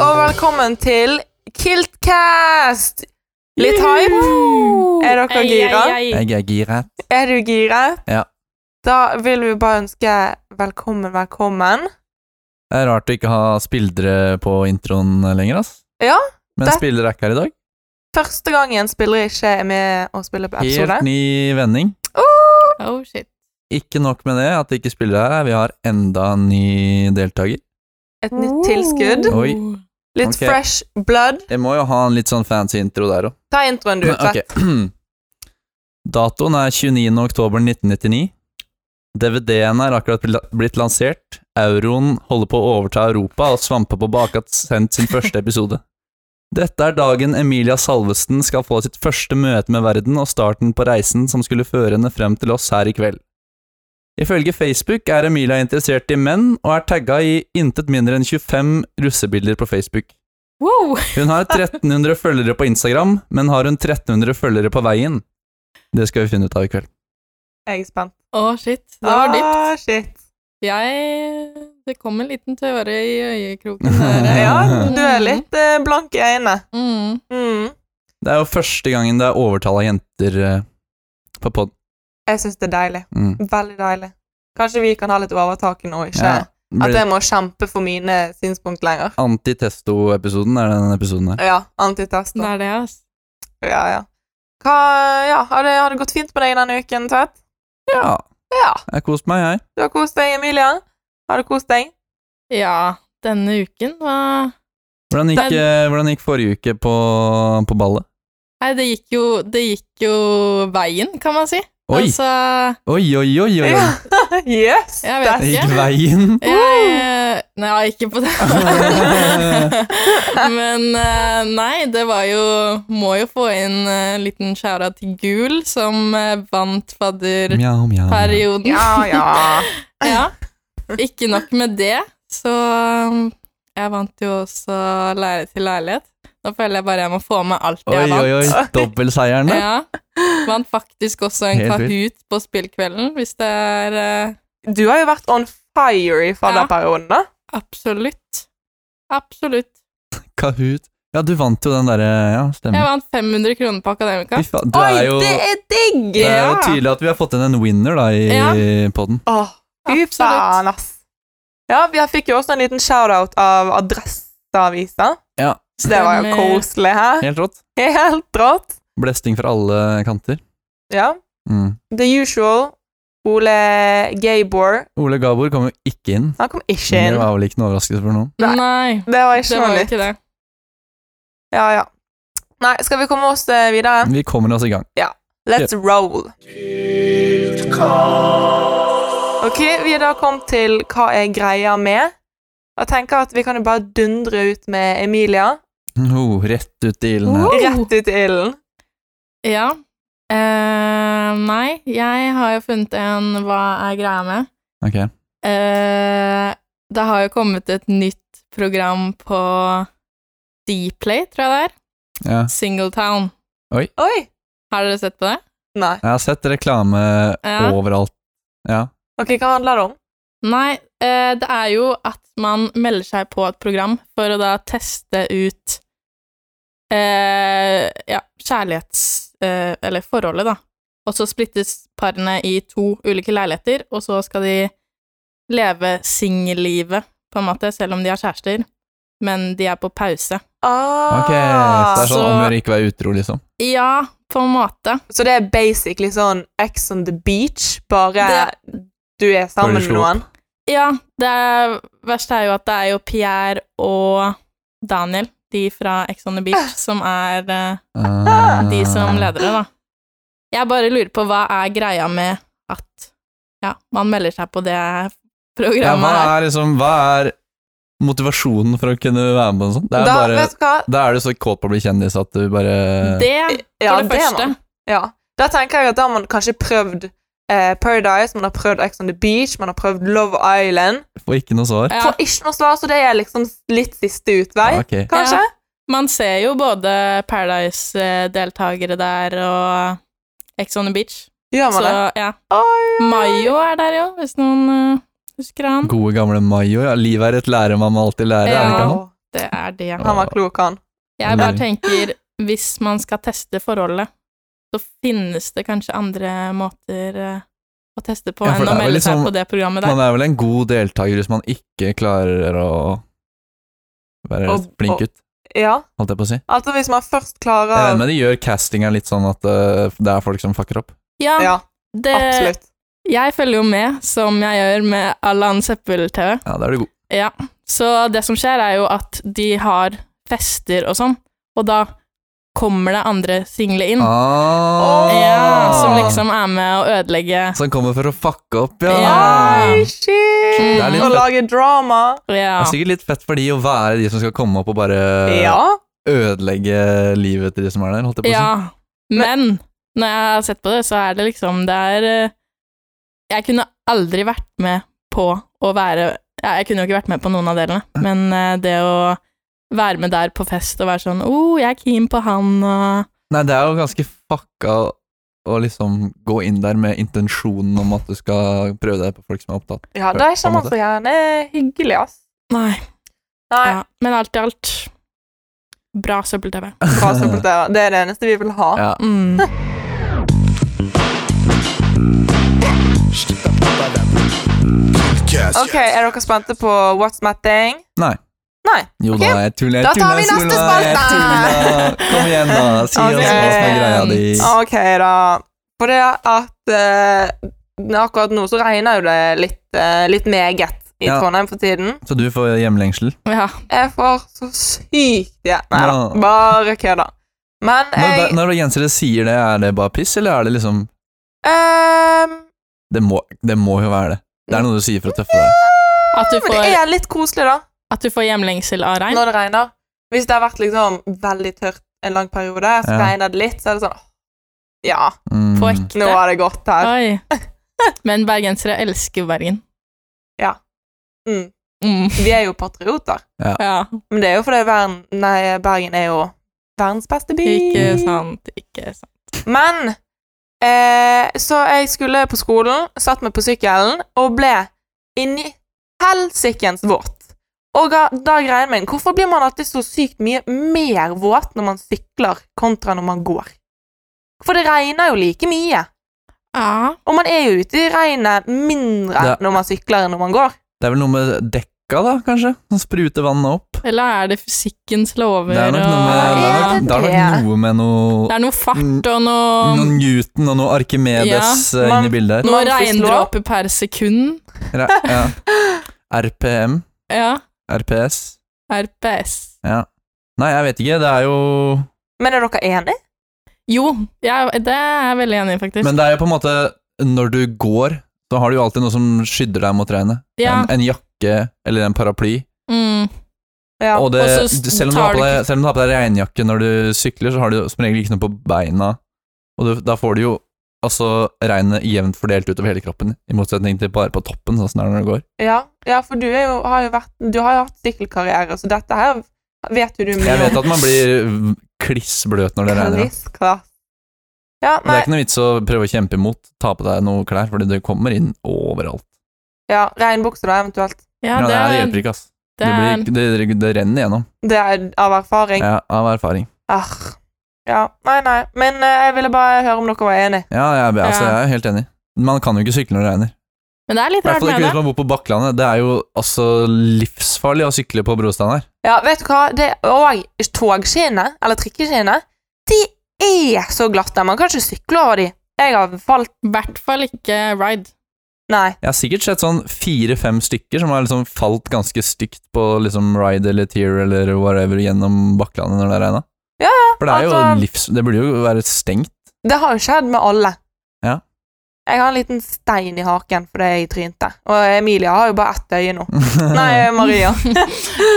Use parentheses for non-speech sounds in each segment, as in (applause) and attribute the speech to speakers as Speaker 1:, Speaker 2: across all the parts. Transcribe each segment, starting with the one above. Speaker 1: velkommen til Kiltcast! Litt hype? Er dere
Speaker 2: Ei,
Speaker 1: gira?
Speaker 2: ei, ei.
Speaker 3: Jeg er giret.
Speaker 1: Er du giret?
Speaker 3: Ja.
Speaker 1: Da vil vi bare ønske velkommen, velkommen.
Speaker 3: Det er rart å ikke ha spillere på introen lenger, ass.
Speaker 1: Ja,
Speaker 3: Men
Speaker 1: det-
Speaker 3: spillere er ikke her i dag.
Speaker 1: Første gangen spiller ikke er med og spiller på episode.
Speaker 3: Helt ny vending.
Speaker 1: Åh!
Speaker 2: Oh shit.
Speaker 3: Ikke nok med det at det ikke spillere er her, vi har enda en ny deltaker.
Speaker 1: Et nytt tilskudd.
Speaker 3: Oi.
Speaker 1: Litt
Speaker 3: Ok.
Speaker 1: fresh blood.
Speaker 3: Jeg må jo ha en litt sånn fancy intro der òg.
Speaker 1: Ta introen,
Speaker 3: (laughs)
Speaker 1: du. Tvedt.
Speaker 3: (clears throat) Datoen er 29. oktober 1999. DVD-en er akkurat bl- blitt lansert. Euroen holder på å overta Europa, og Svampebob har akkurat sendt sin første episode. Dette er dagen Emilia Salvesen skal få sitt første møte med verden, og starten på reisen som skulle føre henne frem til oss her i kveld. Ifølge Facebook er Emilia interessert i menn, og er tagga i intet mindre enn 25 russebilder på Facebook.
Speaker 2: Wow.
Speaker 3: Hun har 1300 følgere på Instagram, men har hun 1300 følgere på veien? Det skal vi finne ut av i kveld.
Speaker 1: Jeg er spent.
Speaker 2: Å, shit. Det var dypt.
Speaker 1: Ah, shit.
Speaker 2: Jeg Det kom en liten tåre i
Speaker 1: (laughs)
Speaker 2: øyekroken der.
Speaker 1: Ja, du
Speaker 2: (laughs)
Speaker 1: er litt eh, blank i øynene.
Speaker 2: Mm.
Speaker 1: Mm.
Speaker 3: Det er jo første gangen det er overtall av jenter eh, på pod.
Speaker 1: Jeg syns det er deilig.
Speaker 3: Mm.
Speaker 1: Veldig deilig. Kanskje vi kan ha litt overtak nå, ikke
Speaker 3: Ja,
Speaker 1: at
Speaker 3: Blir
Speaker 1: jeg må kjempe for mine synspunkt lenger.
Speaker 3: Antitesto-episoden er den episoden her.
Speaker 1: Ja, antitest.
Speaker 2: Det
Speaker 1: da.
Speaker 2: er det, ass.
Speaker 1: Ja, ja. Hva, ja, har det, har det gått fint med deg denne uken, Tvedt?
Speaker 3: Ja,
Speaker 1: Ja.
Speaker 3: jeg har kost meg, jeg.
Speaker 1: Du har kost deg, Emilia? Har du kost deg? (laughs)
Speaker 2: Ja, denne uken var
Speaker 3: Hvordan gikk,
Speaker 2: Den-
Speaker 3: eh, hvordan gikk forrige uke på, på ballet?
Speaker 2: Nei, det gikk jo Det gikk jo veien, kan man si.
Speaker 3: Oi,
Speaker 2: Altså
Speaker 3: oi, oi, oi, oi. oi.
Speaker 1: yes!
Speaker 2: Jeg
Speaker 1: Det-
Speaker 2: vet
Speaker 3: Det
Speaker 2: ikke.
Speaker 3: gikk veien.
Speaker 2: (laughs)
Speaker 3: (laughs)
Speaker 2: jeg, Nei, ikke på det. Men eh, nei, det var jo Må jo få inn eh, en liten skjæra til Gul, som eh, vant fadderperioden.
Speaker 3: Mjau, mjau. mjau.
Speaker 1: Ja, ja.
Speaker 2: Ja. Ikke nok med det, så um, jeg vant jo også Lære til leilighet. Nå føler jeg bare jeg må få med alt
Speaker 3: Oi,
Speaker 2: jeg vant.
Speaker 3: oi, oi. Dobbeltseieren. da.
Speaker 2: Ja. Vant faktisk også en
Speaker 3: Helt
Speaker 2: Kahoot på spillkvelden, hvis det er eh,
Speaker 1: Du har jo vært on fire i fadderperioden, da.
Speaker 2: absolutt. Absolutt.
Speaker 3: Kahoot. Ja, du vant jo den derre Ja,
Speaker 2: Jeg
Speaker 3: stemmer.
Speaker 2: vant 500 kroner på Akademika.
Speaker 3: Fy faen, du er jo
Speaker 1: det er digg!
Speaker 3: Det er jo tydelig at vi har fått inn en winner da i podden.
Speaker 1: Åh, fy
Speaker 2: Absolutt.
Speaker 1: faen, ass. Ja, vi fikk jo også en liten shout-out av Adresseavisa,
Speaker 3: Ja,
Speaker 1: så det var jo
Speaker 2: Stemmer.
Speaker 1: koselig her.
Speaker 3: helt rått.
Speaker 1: Helt rått.
Speaker 3: Blesting fra alle kanter.
Speaker 1: Ja.
Speaker 3: Mm.
Speaker 1: The Usual, Ole Gabor,
Speaker 3: Ole Gabor kom jo ikke inn.
Speaker 1: han kom ikke
Speaker 3: Det
Speaker 1: inn.
Speaker 3: var vel ikke noe overraskelse for noen.
Speaker 1: Nei.
Speaker 2: Nei,
Speaker 1: Det var ikke
Speaker 2: det
Speaker 1: noe
Speaker 2: var jo
Speaker 1: nytt.
Speaker 2: ikke det.
Speaker 1: Ja, ja. Nei, skal vi komme oss eh, videre?
Speaker 3: Vi kommer oss i gang.
Speaker 1: Let's roll. Ok, vi er da kommet til hva jeg greier med. Jeg tenker at vi kan jo bare dundre ut med Emilia.
Speaker 3: Oh, rett ut i ilden her.
Speaker 2: Oh.
Speaker 1: Rett ut i ilden.
Speaker 2: Ja. Eh, nei, jeg har jo funnet en Hva er greia med?
Speaker 3: Ok.
Speaker 2: Eh, det har jo kommet et nytt program på Dplay, tror jeg det er.
Speaker 3: Ja.
Speaker 2: Singletown.
Speaker 1: Oi!
Speaker 2: Har dere sett på det?
Speaker 1: Nei.
Speaker 3: Jeg har sett reklame
Speaker 2: Ja.
Speaker 3: overalt. Ja.
Speaker 1: Ok, hva handler det om?
Speaker 2: Nei, eh, det er jo at man melder seg på et program for å da teste ut eh, ja, kjærlighets... Eh, eller forholdet, da. Og så splittes parene i to ulike leiligheter, og så skal de leve singellivet, på en måte, selv om de har kjærester. Men de er på pause.
Speaker 1: Ah,
Speaker 3: Ok, så det er sånn
Speaker 2: så-
Speaker 3: om å gjøre ikke være utro, liksom.
Speaker 2: Ja, på en måte.
Speaker 1: så det er basically sånn X on the beach, bare du er
Speaker 3: Bare
Speaker 1: sammen
Speaker 3: du
Speaker 1: med
Speaker 3: slo opp.
Speaker 1: noen.
Speaker 2: Ja, det er- verste er jo at det er jo Pierre og Daniel, de fra Ex on the Beach, som er eh,
Speaker 3: Ah.
Speaker 2: (laughs) de som leder det, da. Jeg bare lurer på hva er greia med at ja, man melder seg på det
Speaker 3: Ja, hva
Speaker 2: programmet her.
Speaker 3: er liksom Hva er motivasjonen for å kunne være med på noe sånt? Det
Speaker 1: Da,
Speaker 3: er bare
Speaker 1: vet du hva?
Speaker 3: Da er du så kåt på å bli kjendis at du bare
Speaker 2: Det,
Speaker 1: Ja,
Speaker 2: for det,
Speaker 1: er
Speaker 2: første.
Speaker 1: man. Ja. Da tenker jeg at da har man kanskje prøvd eh, Paradise, man har prøvd Ex on the Beach, man har prøvd Love Island.
Speaker 3: får ikke noe svar.
Speaker 2: Ja,
Speaker 1: Får ikke noe svar, så det er liksom litt siste utvei,
Speaker 3: Ja, ok.
Speaker 1: kanskje?
Speaker 2: man ser jo både Paradise-deltakere der og Ex on the Beach.
Speaker 1: Gjør
Speaker 2: Så
Speaker 1: man det?
Speaker 2: ja.
Speaker 1: Oi,
Speaker 2: Mayo er der jo, hvis noen eh, husker han.
Speaker 3: Gode gamle Mayo, ja. Livet er et lære man må alltid lære. er det
Speaker 2: Ja.
Speaker 3: ikke han?
Speaker 2: Det er det.
Speaker 1: Han var klok, han.
Speaker 2: Jeg bare
Speaker 3: Nei.
Speaker 2: tenker, hvis man skal teste forholdet, så finnes det kanskje andre måter eh, å teste på
Speaker 3: Ja,
Speaker 2: enn
Speaker 3: for det
Speaker 2: å
Speaker 3: er vel
Speaker 2: melde seg
Speaker 3: liksom-
Speaker 2: på det programmet der.
Speaker 3: Man er vel en god deltaker hvis man ikke klarer å være
Speaker 1: Og- og-
Speaker 3: flink ut,
Speaker 1: Ja.
Speaker 3: holdt jeg på å si.
Speaker 1: Altså, hvis man først
Speaker 3: Jeg regner
Speaker 1: klarer
Speaker 3: med de gjør castinga litt sånn at eh, det er folk som fucker opp.
Speaker 2: Ja,
Speaker 1: Ja,
Speaker 2: det,
Speaker 1: absolutt.
Speaker 2: jeg følger jo med, som jeg gjør med all annen søppel-TV.
Speaker 3: Ja, da er du god.
Speaker 2: Ja, så det som skjer er jo at de har fester og sånn, og da kommer det andre single inn,
Speaker 3: Ah,
Speaker 2: Mm. ja, som liksom er med å ødelegge
Speaker 3: Som kommer for å fucke opp, ja.
Speaker 1: Oi,
Speaker 2: Ja.
Speaker 1: shit!
Speaker 2: Det er litt
Speaker 1: Å
Speaker 3: fett.
Speaker 1: lage drama.
Speaker 2: Ja,
Speaker 3: Det er sikkert litt fett for de å være de som skal komme opp og bare
Speaker 1: Ja.
Speaker 3: ødelegge livet til de som er der, holdt jeg på å si.
Speaker 2: ja. men når jeg har sett på det, så er det liksom Det er eh, Jeg kunne aldri vært med på å være ja, Jeg kunne jo ikke vært med på noen av delene, men eh, det å være med der på fest og være sånn 'Å, oh, jeg er keen på han', og
Speaker 3: Nei, det er jo ganske fucka å- å liksom gå inn der med intensjonen om at du skal prøve deg på folk som er opptatt.
Speaker 1: Ja, da er
Speaker 3: På
Speaker 1: ikke
Speaker 3: en
Speaker 1: man
Speaker 3: måte.
Speaker 1: så gjerne hyggelig, ass.
Speaker 2: Nei.
Speaker 1: Nei,
Speaker 2: Ja, men alt i alt
Speaker 1: (laughs)
Speaker 2: Bra søppel-TV.
Speaker 1: bra søppeltøver. Det er det eneste vi vil ha.
Speaker 3: Ja.
Speaker 2: Mm.
Speaker 1: Ok, er dere spente på What's My Thing?
Speaker 3: Nei.
Speaker 1: Nei.
Speaker 3: Jo
Speaker 1: Ok.
Speaker 3: da, jeg tuller, jeg
Speaker 1: Da tar
Speaker 3: tuller,
Speaker 1: vi
Speaker 3: jeg
Speaker 1: neste
Speaker 3: tuller, jeg
Speaker 1: spalte!
Speaker 3: tuller. Kom igjen, da. Si oss
Speaker 1: Ok. Ah.
Speaker 3: hva som er greia di.
Speaker 1: Ok, da. For det at eh, akkurat nå så regner jo det litt, eh, litt meget i
Speaker 3: Ja.
Speaker 1: Trondheim for tiden.
Speaker 3: Så du får hjemlengsel.
Speaker 2: Ja.
Speaker 1: Jeg får så sykt ja. Nei da,
Speaker 3: Ja.
Speaker 1: bare kødda. Men
Speaker 3: Når, da-
Speaker 1: jeg
Speaker 3: når gensere sier det, er det bare piss, eller er det liksom
Speaker 1: ehm,
Speaker 3: Det må, det må jo være det. Det er noe du sier for å tøffe deg.
Speaker 2: At, du
Speaker 1: Men
Speaker 2: får,
Speaker 1: det er litt koselig, da,
Speaker 2: at du får hjemlengsel av regn.
Speaker 1: når det regner. Hvis det har vært liksom veldig tørt en lang periode, så
Speaker 3: Ja.
Speaker 1: regner det litt, så er det sånn åh, Ja,
Speaker 3: Mm.
Speaker 2: På ekte.
Speaker 1: nå er det godt her.
Speaker 2: Oi. Men bergensere elsker Bergen.
Speaker 1: Mm.
Speaker 2: Mm.
Speaker 1: Vi er jo patrioter.
Speaker 2: Ja.
Speaker 1: Men det er jo fordi verden, nei, Bergen er jo verdens beste by.
Speaker 2: Ikke sant, ikke sant.
Speaker 1: Men eh, Så jeg skulle på skolen, satt meg på sykkelen og ble inni helsikens våt. Og ga- da greien min Hvorfor blir man alltid så sykt mye mer våt når man sykler kontra når man går? For det regner jo like mye.
Speaker 2: Ja.
Speaker 1: Og man er jo ute i regnet mindre
Speaker 3: Ja.
Speaker 1: når man sykler enn når man går.
Speaker 3: Det er vel noe med dekka, da, kanskje? Som spruter vannet opp.
Speaker 2: Eller er det fysikkens lover
Speaker 3: Det er nok noe med, det er
Speaker 2: og
Speaker 3: nok, det er nok noe med noe
Speaker 2: Det er noe fart og
Speaker 3: Noe
Speaker 2: noe
Speaker 3: Newton og noe Arkimedes
Speaker 1: Ja,
Speaker 3: eh,
Speaker 1: man-
Speaker 3: inni bildet
Speaker 2: Noe
Speaker 1: Memphis-lov.
Speaker 2: regndråper per sekund.
Speaker 3: her. Ra- Ja. RPM?
Speaker 2: Ja.
Speaker 3: RPS?
Speaker 2: RPS.
Speaker 3: Ja. Nei, jeg vet ikke. Det er jo
Speaker 1: Men er dere enige?
Speaker 2: Jo, jeg- det er jeg veldig enig i, faktisk.
Speaker 3: Men det er jo på en måte Når du går, så har du jo alltid noe som skydder deg mot regnet.
Speaker 2: ja.
Speaker 3: En, en jakke eller en paraply.
Speaker 2: Mm.
Speaker 1: Ja.
Speaker 3: og det,
Speaker 2: og så
Speaker 3: du- selv, om du
Speaker 2: tar
Speaker 3: har på
Speaker 2: du
Speaker 3: deg,
Speaker 2: ikke-
Speaker 3: selv om du har på deg regnjakke når du sykler, så har du som regel ikke noe på beina. Og du, da får du jo altså regnet jevnt fordelt utover hele kroppen, i motsetning til bare på toppen, sånn som det er når du går.
Speaker 1: Ja, ja, for du, er jo, har jo vært, du har jo hatt sykkelkarriere, så dette her vet jo du mye
Speaker 3: Jeg vet at man blir v- klissbløt når det regner. da.
Speaker 1: Klissklass. Ja,
Speaker 3: Det
Speaker 1: nei,
Speaker 3: er ikke noe vits å prøve å kjempe imot, ta på deg noe klær, fordi det kommer inn overalt.
Speaker 1: ja, regnbukse da, eventuelt.
Speaker 2: Ja,
Speaker 3: Ja, det, her
Speaker 2: det,
Speaker 3: hjelper
Speaker 2: det,
Speaker 3: ikke, ass. Det,
Speaker 2: er
Speaker 3: blir, det, det, det renner gjennom.
Speaker 1: Det er av erfaring.
Speaker 3: Ja, av erfaring.
Speaker 1: Arr. Ja, nei, nei. Men eh, jeg ville bare høre om dere var enige.
Speaker 3: Ja, jeg, er- altså,
Speaker 2: Ja.
Speaker 3: jeg er helt enig. Man kan jo ikke sykle når det regner.
Speaker 2: Men det er
Speaker 3: I
Speaker 2: litt
Speaker 3: hvert
Speaker 2: rart
Speaker 3: fall
Speaker 2: med
Speaker 3: ikke
Speaker 2: det.
Speaker 3: hvis man bor på Bakklandet. Det er jo altså livsfarlig å sykle på brostein her.
Speaker 1: Ja, vet du hva? Det, og togskinnene, eller trikkeskinnet, de er så glatte. Man kan ikke sykle over de. Jeg har falt
Speaker 2: I hvert fall ikke ride.
Speaker 1: Nei.
Speaker 3: Jeg har sikkert sett sånn fire-fem stykker som har liksom falt ganske stygt på liksom ride eller tear eller whatever gjennom Bakklandet når det regna.
Speaker 1: Ja,
Speaker 3: For det er jo
Speaker 1: altså-
Speaker 3: livs... Det burde jo være stengt.
Speaker 1: Det har jo skjedd med alle.
Speaker 3: Ja.
Speaker 1: Jeg har en liten stein i haken fordi jeg trynte. Og Emilia har jo bare ett øye nå. Nei, Maria.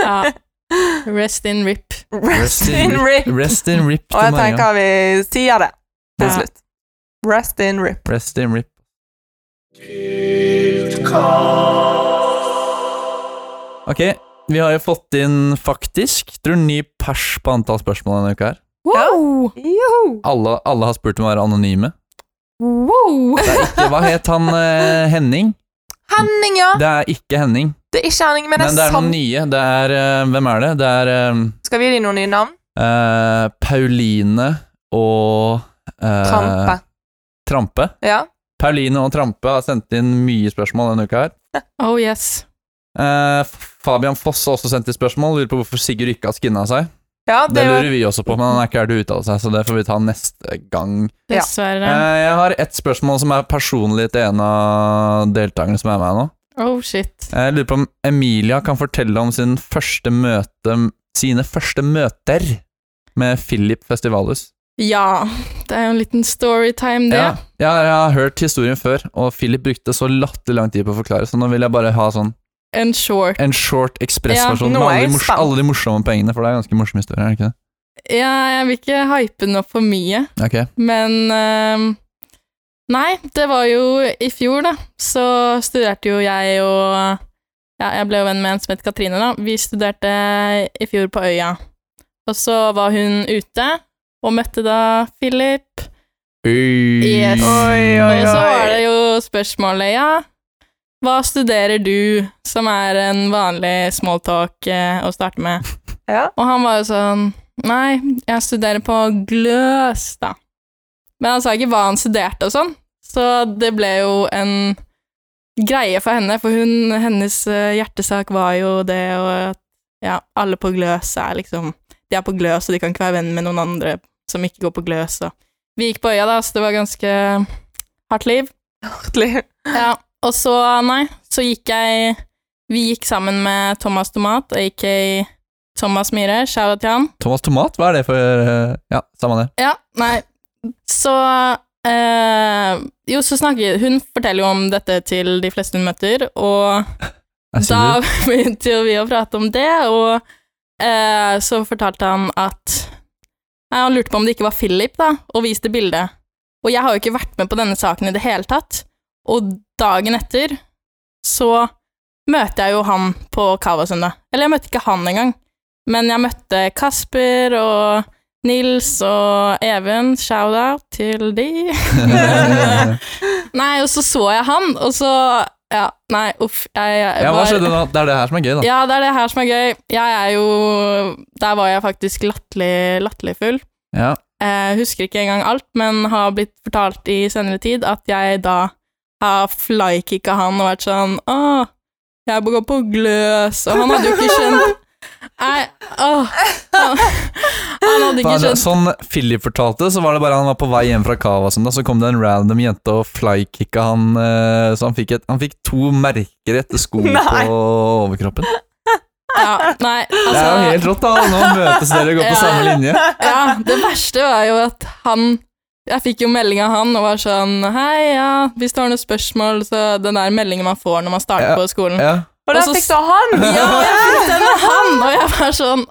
Speaker 2: Ja. (laughs) Rest in rip.
Speaker 1: Rest in rip.
Speaker 3: (laughs) Rest in rip
Speaker 1: Og
Speaker 3: til
Speaker 1: jeg
Speaker 3: Maria.
Speaker 1: tenker vi sier det til
Speaker 2: Ja.
Speaker 1: slutt. Rest in rip.
Speaker 3: Rest in rip. Ok, vi har jo fått inn faktisk, tror du, ny pers på antall spørsmål denne uka her.
Speaker 2: Wow!
Speaker 1: Joho!
Speaker 3: Alle, alle har spurt om å være anonyme.
Speaker 2: Wow!
Speaker 3: Det er ikke, hva het han eh, Henning?
Speaker 1: Henning, ja!
Speaker 3: Det er ikke Henning,
Speaker 1: Det er ikke Henning, men det
Speaker 3: men
Speaker 1: er,
Speaker 3: det er noen
Speaker 1: sant.
Speaker 3: nye. Det er eh, Hvem er det? Det er
Speaker 1: Skal vi gi dem noen nye navn?
Speaker 3: eh, eh, Pauline og eh,
Speaker 1: Trampe.
Speaker 3: Trampe.
Speaker 1: Ja.
Speaker 3: Pauline og Trampe har sendt inn mye spørsmål denne uka her.
Speaker 2: Oh yes.
Speaker 3: Eh, F- Fabian Foss har også sendt inn spørsmål. Lurer på hvorfor Sigurd ikke har skinna seg.
Speaker 1: ja
Speaker 3: Det,
Speaker 1: det var
Speaker 3: lurer vi også på, men han er ikke her til å uttale seg, så det får vi ta neste gang.
Speaker 1: Ja.
Speaker 2: Dessverre.
Speaker 3: Eh, jeg har ett spørsmål som er personlig til en av deltakerne som er med her nå.
Speaker 2: Oh shit.
Speaker 3: Jeg lurer på om Emilia kan fortelle om sin første møte, sine første møter med Philip Festivalhus.
Speaker 2: Ja, det er jo en liten storytime, det.
Speaker 3: Ja, ja, jeg har hørt historien før, og Philip brukte så latterlig lang tid på å forklare, så nå vil jeg bare ha sånn
Speaker 2: En short.
Speaker 3: en short
Speaker 1: Ja,
Speaker 3: ekspressversjon
Speaker 1: nå
Speaker 3: med alle
Speaker 1: er jeg
Speaker 3: de, mors
Speaker 1: spent.
Speaker 3: alle de morsomme poengene, for det er ganske morsomme historier, er det ikke det?
Speaker 2: Ja, jeg vil ikke hype den opp for mye,
Speaker 3: Ok.
Speaker 2: men ehm, Nei, det var jo i fjor, da. Så studerte jo jeg og Ja, jeg ble jo venn med en som het Katrine, da. Vi studerte i fjor på Øya. Og så var hun ute, og møtte da Philip. Yes.
Speaker 1: Oi, oi,
Speaker 2: Og
Speaker 1: oi.
Speaker 2: så var det jo spørsmålet, ja, hva studerer du, som er en vanlig smalltalk eh, å starte med?
Speaker 1: Ja.
Speaker 2: Og han var jo sånn, nei, jeg studerer på gløs, da. Men han sa ikke hva han studerte og sånn, så det ble jo en greie for henne, for hun, hennes eh, hjertesak var jo det og at ja, alle på gløs er liksom De er på gløs, og de kan ikke være venn med noen andre som ikke går på gløs. Og. Vi gikk på øya, da, så det var ganske hardt liv.
Speaker 1: ordentlig.
Speaker 2: Ja, og så, nei, så gikk jeg Vi gikk sammen med Thomas Tomat, aka Thomas Myhre, shout til han.
Speaker 3: Thomas Tomat, hva er det for eh, Ja, samme det.
Speaker 2: Ja, nei, så eh, Jo, så snakker Hun forteller jo om dette til de fleste hun møter, og
Speaker 3: Jeg sier
Speaker 2: da (laughs)
Speaker 3: det.
Speaker 2: begynte jo vi å prate om det, og eh, så fortalte han at Nei, han lurte på om det ikke var Philip, da, og viste bildet. Og jeg har jo ikke vært med på denne saken i det hele tatt. Og dagen etter så møter jeg jo han på Kavasøndag. Eller jeg møtte ikke han engang, men jeg møtte Kasper og Nils og Even. Shout-out til de. (laughs) Nei, og så så jeg han, og så Ja, nei, uff. Jeg, jeg
Speaker 3: ja, hva
Speaker 2: var-
Speaker 3: skjedde nå? Det er det her som er gøy, da.
Speaker 2: ja, det er det her som er gøy. Jeg er jo Der var jeg faktisk latterlig, latterlig full.
Speaker 3: Ja.
Speaker 2: Jeg husker ikke engang alt, men har blitt fortalt i senere tid at jeg da har flykicka han og vært sånn Å, jeg går på gløs, og han hadde jo ikke skjønt Nei, åh. Han, han hadde ikke
Speaker 3: Bare,
Speaker 2: skjønt
Speaker 3: sånn Philip fortalte, så var det bare han var på vei hjem fra Cava, sånn, da, så kom det en random jente og flykicka han, eh, så han fikk, et, han fikk to merker etter
Speaker 2: (laughs)
Speaker 3: sko
Speaker 1: Nei.
Speaker 3: på overkroppen.
Speaker 2: Ja, nei,
Speaker 3: Det er jo
Speaker 2: altså
Speaker 3: helt rått, da! Nå møtes dere og går på
Speaker 2: (laughs) Ja.
Speaker 3: samme linje.
Speaker 2: Ja, det verste var jo at han Jeg fikk jo melding av han og var sånn Hei, ja, hvis du har noen spørsmål, så den der meldingen man får når man starter
Speaker 3: Ja.
Speaker 2: på skolen.
Speaker 3: Ja.
Speaker 1: Og der
Speaker 2: Og så
Speaker 1: fikk du (laughs) han!
Speaker 2: Ja, jeg fikk den av han, og jeg var sånn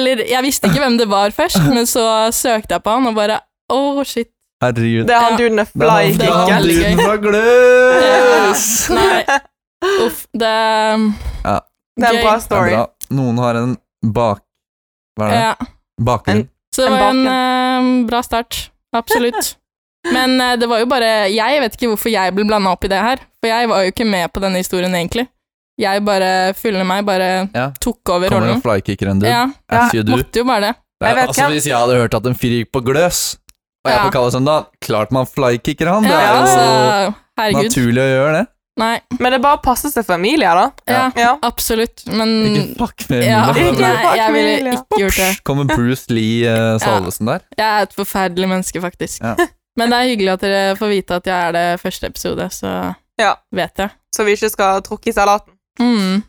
Speaker 2: Eller, jeg visste ikke hvem det var først, men så søkte jeg på han og bare Å, shit.
Speaker 3: Herregud.
Speaker 1: Det er han
Speaker 2: Ja.
Speaker 1: duden med
Speaker 3: Det er han- det er han
Speaker 1: flykicken.
Speaker 2: Veldig
Speaker 3: duden
Speaker 2: gøy.
Speaker 3: fra Gløs!
Speaker 2: (laughs)
Speaker 3: (laughs)
Speaker 2: Ja, Nei. Uff, det
Speaker 1: (laughs)
Speaker 2: um,
Speaker 1: Det er en bra
Speaker 3: Det er
Speaker 1: story.
Speaker 3: bra. Noen har en bak... Hva er det?
Speaker 2: Ja.
Speaker 3: Bakgrunn.
Speaker 2: Så det
Speaker 1: En
Speaker 2: var en eh, bra start. (laughs) Absolutt. Men eh, det var jo bare Jeg vet ikke hvorfor jeg ble blanda opp i det her, for jeg var jo ikke med på denne historien, egentlig. Jeg bare Fyller meg, bare
Speaker 3: Ja.
Speaker 2: tok over
Speaker 3: Kommer det
Speaker 2: rollen.
Speaker 3: en flykicker enn du?
Speaker 2: Ja,
Speaker 3: As you do.
Speaker 2: måtte jo bare det.
Speaker 3: Det
Speaker 1: Jeg
Speaker 3: er,
Speaker 1: vet
Speaker 3: altså,
Speaker 1: hvem.
Speaker 3: hvis jeg hadde hørt at en fyr gikk på gløs, og jeg
Speaker 2: Ja.
Speaker 3: er på Kalesøndag, sånn klart man flykicker han. Det
Speaker 2: Ja,
Speaker 3: er jo
Speaker 2: altså, herregud.
Speaker 3: naturlig å gjøre det.
Speaker 2: Nei.
Speaker 1: Men det er bare å passe seg for Emilia, da.
Speaker 2: Ja,
Speaker 1: Ja.
Speaker 2: absolutt. Men
Speaker 3: Ikke fuck med
Speaker 2: Mm. Ja,
Speaker 3: Emilie.
Speaker 1: Ikke
Speaker 2: nei,
Speaker 1: fuck
Speaker 2: jeg
Speaker 1: med
Speaker 2: ville
Speaker 1: Emilie.
Speaker 2: ikke gjort det.
Speaker 3: Kommer Bruce Lee eh, Salvesen der?
Speaker 2: Jeg er et forferdelig menneske, faktisk.
Speaker 3: Ja.
Speaker 2: (laughs) Men det er hyggelig at dere får vite at jeg er det første episode, så
Speaker 1: Ja.
Speaker 2: vet jeg.
Speaker 1: Så vi ikke skal tråkke i salaten.
Speaker 2: Mm.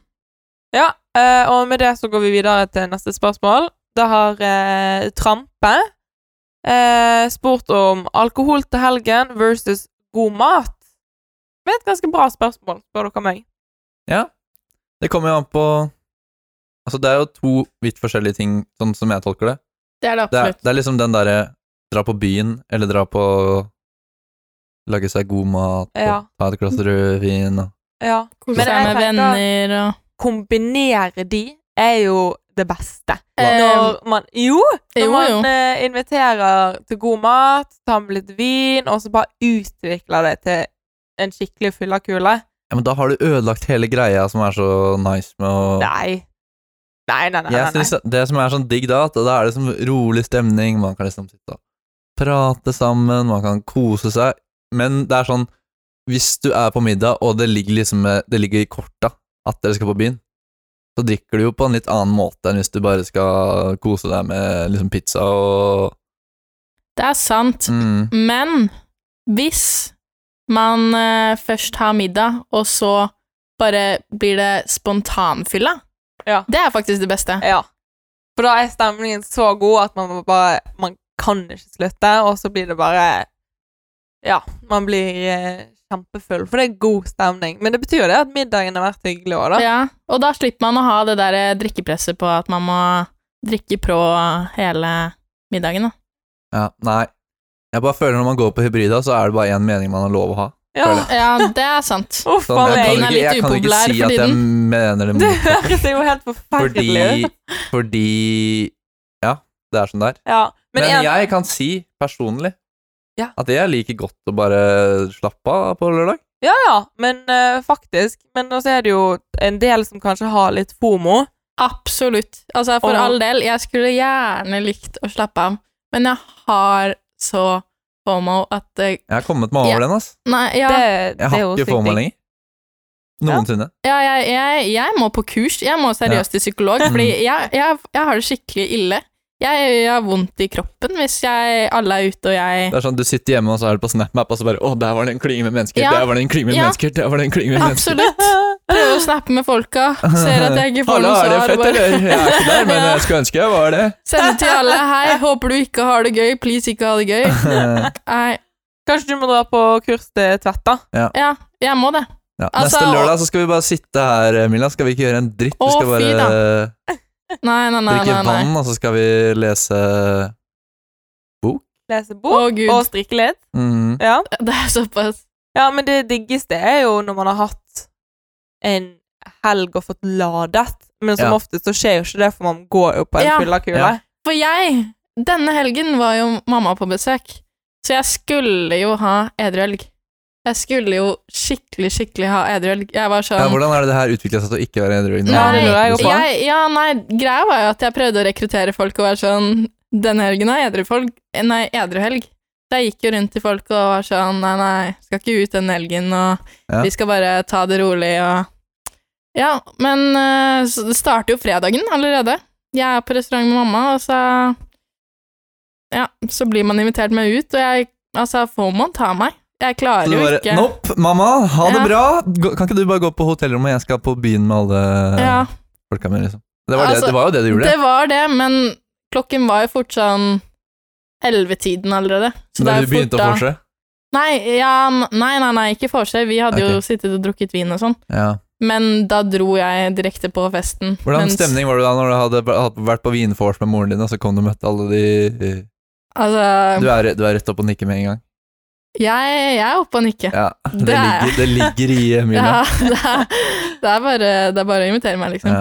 Speaker 1: Ja, eh, og med det så går vi videre til neste spørsmål. Da har eh, Trampe eh, spurt om alkohol til helgen versus god mat. Det er et ganske bra spørsmål, spør dere meg.
Speaker 3: Det kommer jo an på Altså, det er jo to vidt forskjellige ting, sånn som jeg tolker det.
Speaker 2: Det er det
Speaker 3: Det er,
Speaker 2: absolutt.
Speaker 3: det er liksom den derre dra på byen, eller dra på Lage seg god mat, og
Speaker 1: Ja.
Speaker 3: ta et glass rødvin og
Speaker 1: Ja.
Speaker 2: Kose
Speaker 1: Men
Speaker 2: seg
Speaker 1: jeg
Speaker 2: med
Speaker 1: tenker-
Speaker 2: venner og
Speaker 1: Kombinere de er jo det beste.
Speaker 2: Eh,
Speaker 1: Når man Jo! Når
Speaker 2: Jo,
Speaker 1: man
Speaker 2: jo.
Speaker 1: eh, inviterer til god mat, tar med litt vin, og så bare utvikler det til en skikkelig fyllekule.
Speaker 3: Ja, men da har du ødelagt hele greia som er så nice med å
Speaker 1: Nei. Nei, nei, nei.
Speaker 3: Jeg
Speaker 1: nei, nei.
Speaker 3: synes Det som er sånn digg da, at da er det sånn rolig stemning, man kan liksom sitte og prate sammen, man kan kose seg, men det er sånn Hvis du er på middag, og det ligger liksom eh, Det ligger i korta at dere skal på byen, så drikker du jo på en litt annen måte enn hvis du bare skal kose deg med liksom pizza og
Speaker 2: Det er sant.
Speaker 3: mm,
Speaker 2: Men hvis man eh, først har middag, og så bare blir det spontanfylla,
Speaker 1: Ja.
Speaker 2: det er faktisk det beste.
Speaker 1: Ja. For da er stemningen så god at man bare Man kan ikke slutte, og så blir det bare Ja, man blir eh, kjempefull, for det er god stemning. Men det betyr jo det at middagen har vært hyggelig òg, da.
Speaker 2: Ja, og da slipper man å ha det der eh, drikkepresset på at man må drikke pro hele middagen, da.
Speaker 3: Ja, nei. Jeg bare føler når man går på hybrida, så er det bare én mening man har lov å ha.
Speaker 1: Ja.
Speaker 3: Føler
Speaker 2: Ja, det er sant.
Speaker 1: Uff a
Speaker 3: Sånn, jeg
Speaker 1: meg.
Speaker 3: kan
Speaker 2: er
Speaker 3: ikke, jeg
Speaker 2: litt
Speaker 3: kan ikke
Speaker 2: upopulær
Speaker 3: si
Speaker 2: for
Speaker 3: at jeg
Speaker 2: tiden. (laughs)
Speaker 3: mener det
Speaker 1: Det
Speaker 3: motsatte.
Speaker 1: høres jo helt forferdelig
Speaker 3: Mm. Fordi,
Speaker 1: ut.
Speaker 3: fordi Ja, det er sånn det er.
Speaker 1: Ja. Men,
Speaker 3: Men,
Speaker 1: en-
Speaker 3: jeg kan si personlig
Speaker 1: Ja.
Speaker 3: at jeg liker godt å bare slappe av på lørdag.
Speaker 1: Ja, ja, men eh, faktisk. Men også er det jo en del som kanskje har litt fomo.
Speaker 2: Absolutt. Altså, for
Speaker 1: Og-
Speaker 2: all del, jeg skulle gjerne likt å slappe av, men jeg har så FOMO at eh,
Speaker 3: Jeg har kommet meg over
Speaker 2: Ja.
Speaker 3: den, ass.
Speaker 2: Nei, ja.
Speaker 1: Det, det
Speaker 3: Jeg
Speaker 1: er
Speaker 3: har
Speaker 1: jo
Speaker 3: ikke
Speaker 1: sykt
Speaker 3: FOMO
Speaker 1: digg.
Speaker 3: lenger. Noensinne.
Speaker 2: Ja, jeg, jeg, jeg må på kurs. Jeg må seriøst til psykolog,
Speaker 3: Mm.
Speaker 2: fordi jeg, jeg, jeg har det skikkelig ille. Jeg, jeg har vondt i kroppen hvis jeg, alle er ute og jeg
Speaker 3: Det er sånn, Du sitter hjemme og så er du på SnapMap, og så bare 'Å, der var det en klinge med mennesker',
Speaker 2: Ja.
Speaker 3: 'Der var det en klinge med
Speaker 2: Ja.
Speaker 3: mennesker', 'Der var det en klinge med mennesker'.
Speaker 2: Absolutt. Prøver å snappe med folka. Ser at jeg ikke
Speaker 3: (laughs)
Speaker 2: får
Speaker 3: Hallo,
Speaker 2: noe
Speaker 3: er det
Speaker 2: svar. og
Speaker 3: fett,
Speaker 2: bare
Speaker 3: eller? Jeg er ikke der,
Speaker 2: (laughs)
Speaker 3: men
Speaker 2: Ja.
Speaker 3: jeg skulle ønske jeg var det.
Speaker 2: Sender til alle. Hei, håper du ikke har det gøy. Please, ikke ha det gøy. (laughs) Nei,
Speaker 1: Kanskje du må dra på kurs til Tvedt, da?
Speaker 2: ja, jeg må det.
Speaker 3: Ja.
Speaker 2: Altså,
Speaker 3: Neste
Speaker 2: og-
Speaker 3: lørdag så skal vi bare sitte her, Milla. Skal vi ikke gjøre en dritt?
Speaker 2: Å,
Speaker 3: vi skal
Speaker 2: fy
Speaker 3: bare
Speaker 2: Nei, nei, nei.
Speaker 3: drikke
Speaker 2: nei, nei.
Speaker 3: vann, og så skal vi lese
Speaker 1: Lese
Speaker 2: Å,
Speaker 1: bok
Speaker 2: gud.
Speaker 1: og strikke litt.
Speaker 3: mm.
Speaker 1: Ja.
Speaker 2: Det er såpass.
Speaker 1: ja, men det diggeste er jo når man har hatt en helg og fått ladet. Men som
Speaker 3: Ja.
Speaker 1: oftest så skjer jo ikke det, for man går jo på en
Speaker 2: Ja.
Speaker 1: fyllakule.
Speaker 3: Ja.
Speaker 2: For jeg, denne helgen var jo mamma på besøk, så jeg skulle jo ha edru helg. Jeg skulle jo skikkelig, skikkelig ha edru helg. Jeg var
Speaker 3: Ja,
Speaker 2: sånn
Speaker 3: hvordan er det det her utvikla seg til å ikke være edru? i den
Speaker 2: Nei,
Speaker 3: andre
Speaker 1: det lurer jeg
Speaker 3: møten?
Speaker 1: også på.
Speaker 2: jeg, Ja, nei, greia var jo at jeg prøvde å rekruttere folk og være sånn Denne helgen er edru folk eh, Nei, edru helg. Så jeg gikk jo rundt til folk og var sånn Nei, nei, skal ikke ut denne helgen, og
Speaker 3: Ja.
Speaker 2: vi skal bare ta det rolig og Ja, men eh, så det starter jo fredagen allerede. Jeg er på restaurant med mamma, og så Ja, så blir man invitert med ut, og jeg Altså, FOMO tar meg. Jeg klarer
Speaker 3: Så du
Speaker 2: jo
Speaker 3: bare
Speaker 2: ikke
Speaker 3: Nopp, mamma, ha det
Speaker 2: Ja.
Speaker 3: bra! Gå- Kan ikke du bare gå på hotellrommet, jeg skal på byen med alle
Speaker 2: Ja.
Speaker 3: folka mine, liksom. Det var,
Speaker 2: Altså,
Speaker 3: det, det var jo det du gjorde.
Speaker 2: Det var det, men klokken var jo fort sånn 11-tiden allerede. Så det
Speaker 3: da
Speaker 2: er
Speaker 3: du
Speaker 2: jo fort
Speaker 3: begynte å
Speaker 2: da-
Speaker 3: forse.
Speaker 2: Nei, ja, n- nei, nei, nei, ikke forse. Vi hadde jo
Speaker 3: Ok.
Speaker 2: sittet og drukket vin og sånn.
Speaker 3: Ja.
Speaker 2: Men da dro jeg direkte på festen.
Speaker 3: Hvordan
Speaker 2: mens-
Speaker 3: stemning var det da når du hadde b- hadde vært på vinvors med moren din, og så kom du og møtte alle de
Speaker 2: Altså,
Speaker 3: Du er, du er rett opp og nikker med en gang.
Speaker 2: jeg, jeg er oppe og nikker.
Speaker 3: Ja, det,
Speaker 2: Det er-
Speaker 3: ligger, det ligger i Emilia.
Speaker 2: Ja, (laughs) det, er, det, er bare, det er bare å invitere meg, liksom.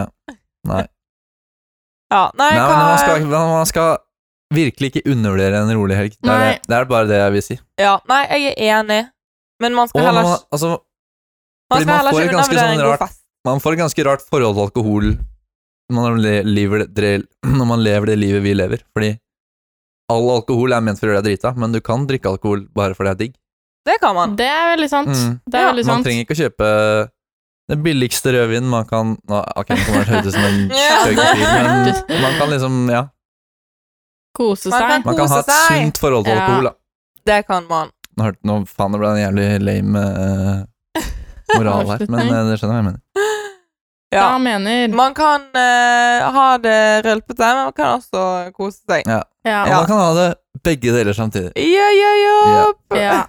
Speaker 3: Ja.
Speaker 1: Ja, nei,
Speaker 3: Nei, men man skal,
Speaker 1: hva...
Speaker 3: man skal virkelig ikke undervurdere en rolig helg. Det er,
Speaker 2: Nei.
Speaker 3: det, det er bare det jeg vil si.
Speaker 1: ja, nei, jeg er enig. Men man
Speaker 3: Og
Speaker 1: skal heller,
Speaker 3: man, altså,
Speaker 1: man
Speaker 3: fordi man
Speaker 1: skal heller
Speaker 3: får et
Speaker 1: ikke
Speaker 3: ganske
Speaker 1: undervurdere
Speaker 3: sånn
Speaker 1: en god
Speaker 3: rart-
Speaker 1: fest.
Speaker 3: man får et ganske rart forhold til alkohol når man, le- lever det, dre- (clears throat) når man lever det livet vi lever. Fordi all alkohol er ment for å gjøre deg drita, men du kan drikke alkohol bare for det er digg.
Speaker 1: Det kan man.
Speaker 2: Det er veldig sant.
Speaker 3: Mm.
Speaker 2: Det er
Speaker 1: Ja,
Speaker 2: veldig
Speaker 3: Man
Speaker 2: sant.
Speaker 3: trenger ikke å kjøpe den billigste rødvinen man kan Nå, Ok, den kommer til å høres ut som
Speaker 2: (laughs)
Speaker 3: en
Speaker 1: Ja.
Speaker 3: stygg fyr, men man kan liksom Ja.
Speaker 2: Kose
Speaker 1: Man
Speaker 2: seg.
Speaker 1: kan-
Speaker 3: Man kan ha
Speaker 1: Kose
Speaker 3: et
Speaker 1: seg.
Speaker 3: sunt forhold til
Speaker 2: Ja.
Speaker 3: alkohol, da.
Speaker 1: Det kan man.
Speaker 3: Nå, hørte- nå faen, det ble en jævlig lame eh, moral her, men eh, dere skjønner hva jeg mener.
Speaker 2: Da
Speaker 1: Ja.
Speaker 2: mener
Speaker 1: Man kan eh, ha det rølpete, men man kan også kose seg.
Speaker 2: Ja.
Speaker 3: Og man kan ha det begge deler samtidig.
Speaker 1: Ja, ja, ja.
Speaker 2: ja.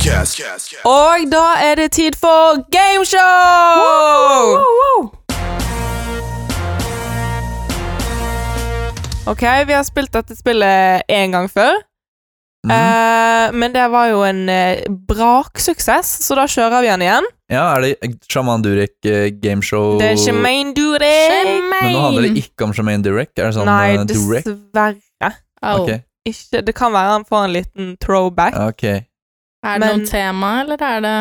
Speaker 4: Cast, cast, cast.
Speaker 1: Og da er det tid for gameshow! Ok, vi har spilt dette spillet én gang før.
Speaker 3: Mm.
Speaker 1: eh, men det var jo en eh, braksuksess, så da kjører vi den iguen.
Speaker 3: Ja, er det Shaman Durek eh, gameshow
Speaker 1: Det er Shemaine Durek.
Speaker 3: Men nå handler
Speaker 2: Shemaine!
Speaker 3: det ikke om Shemaine Durek? Er det sånn
Speaker 1: Nei,
Speaker 3: eh, Durek?
Speaker 1: dessverre.
Speaker 2: Au.
Speaker 3: Ok.
Speaker 1: ikke Det kan være han får en liten throwback.
Speaker 3: Ok.
Speaker 2: Er det
Speaker 1: Men-
Speaker 2: noe tema, eller er det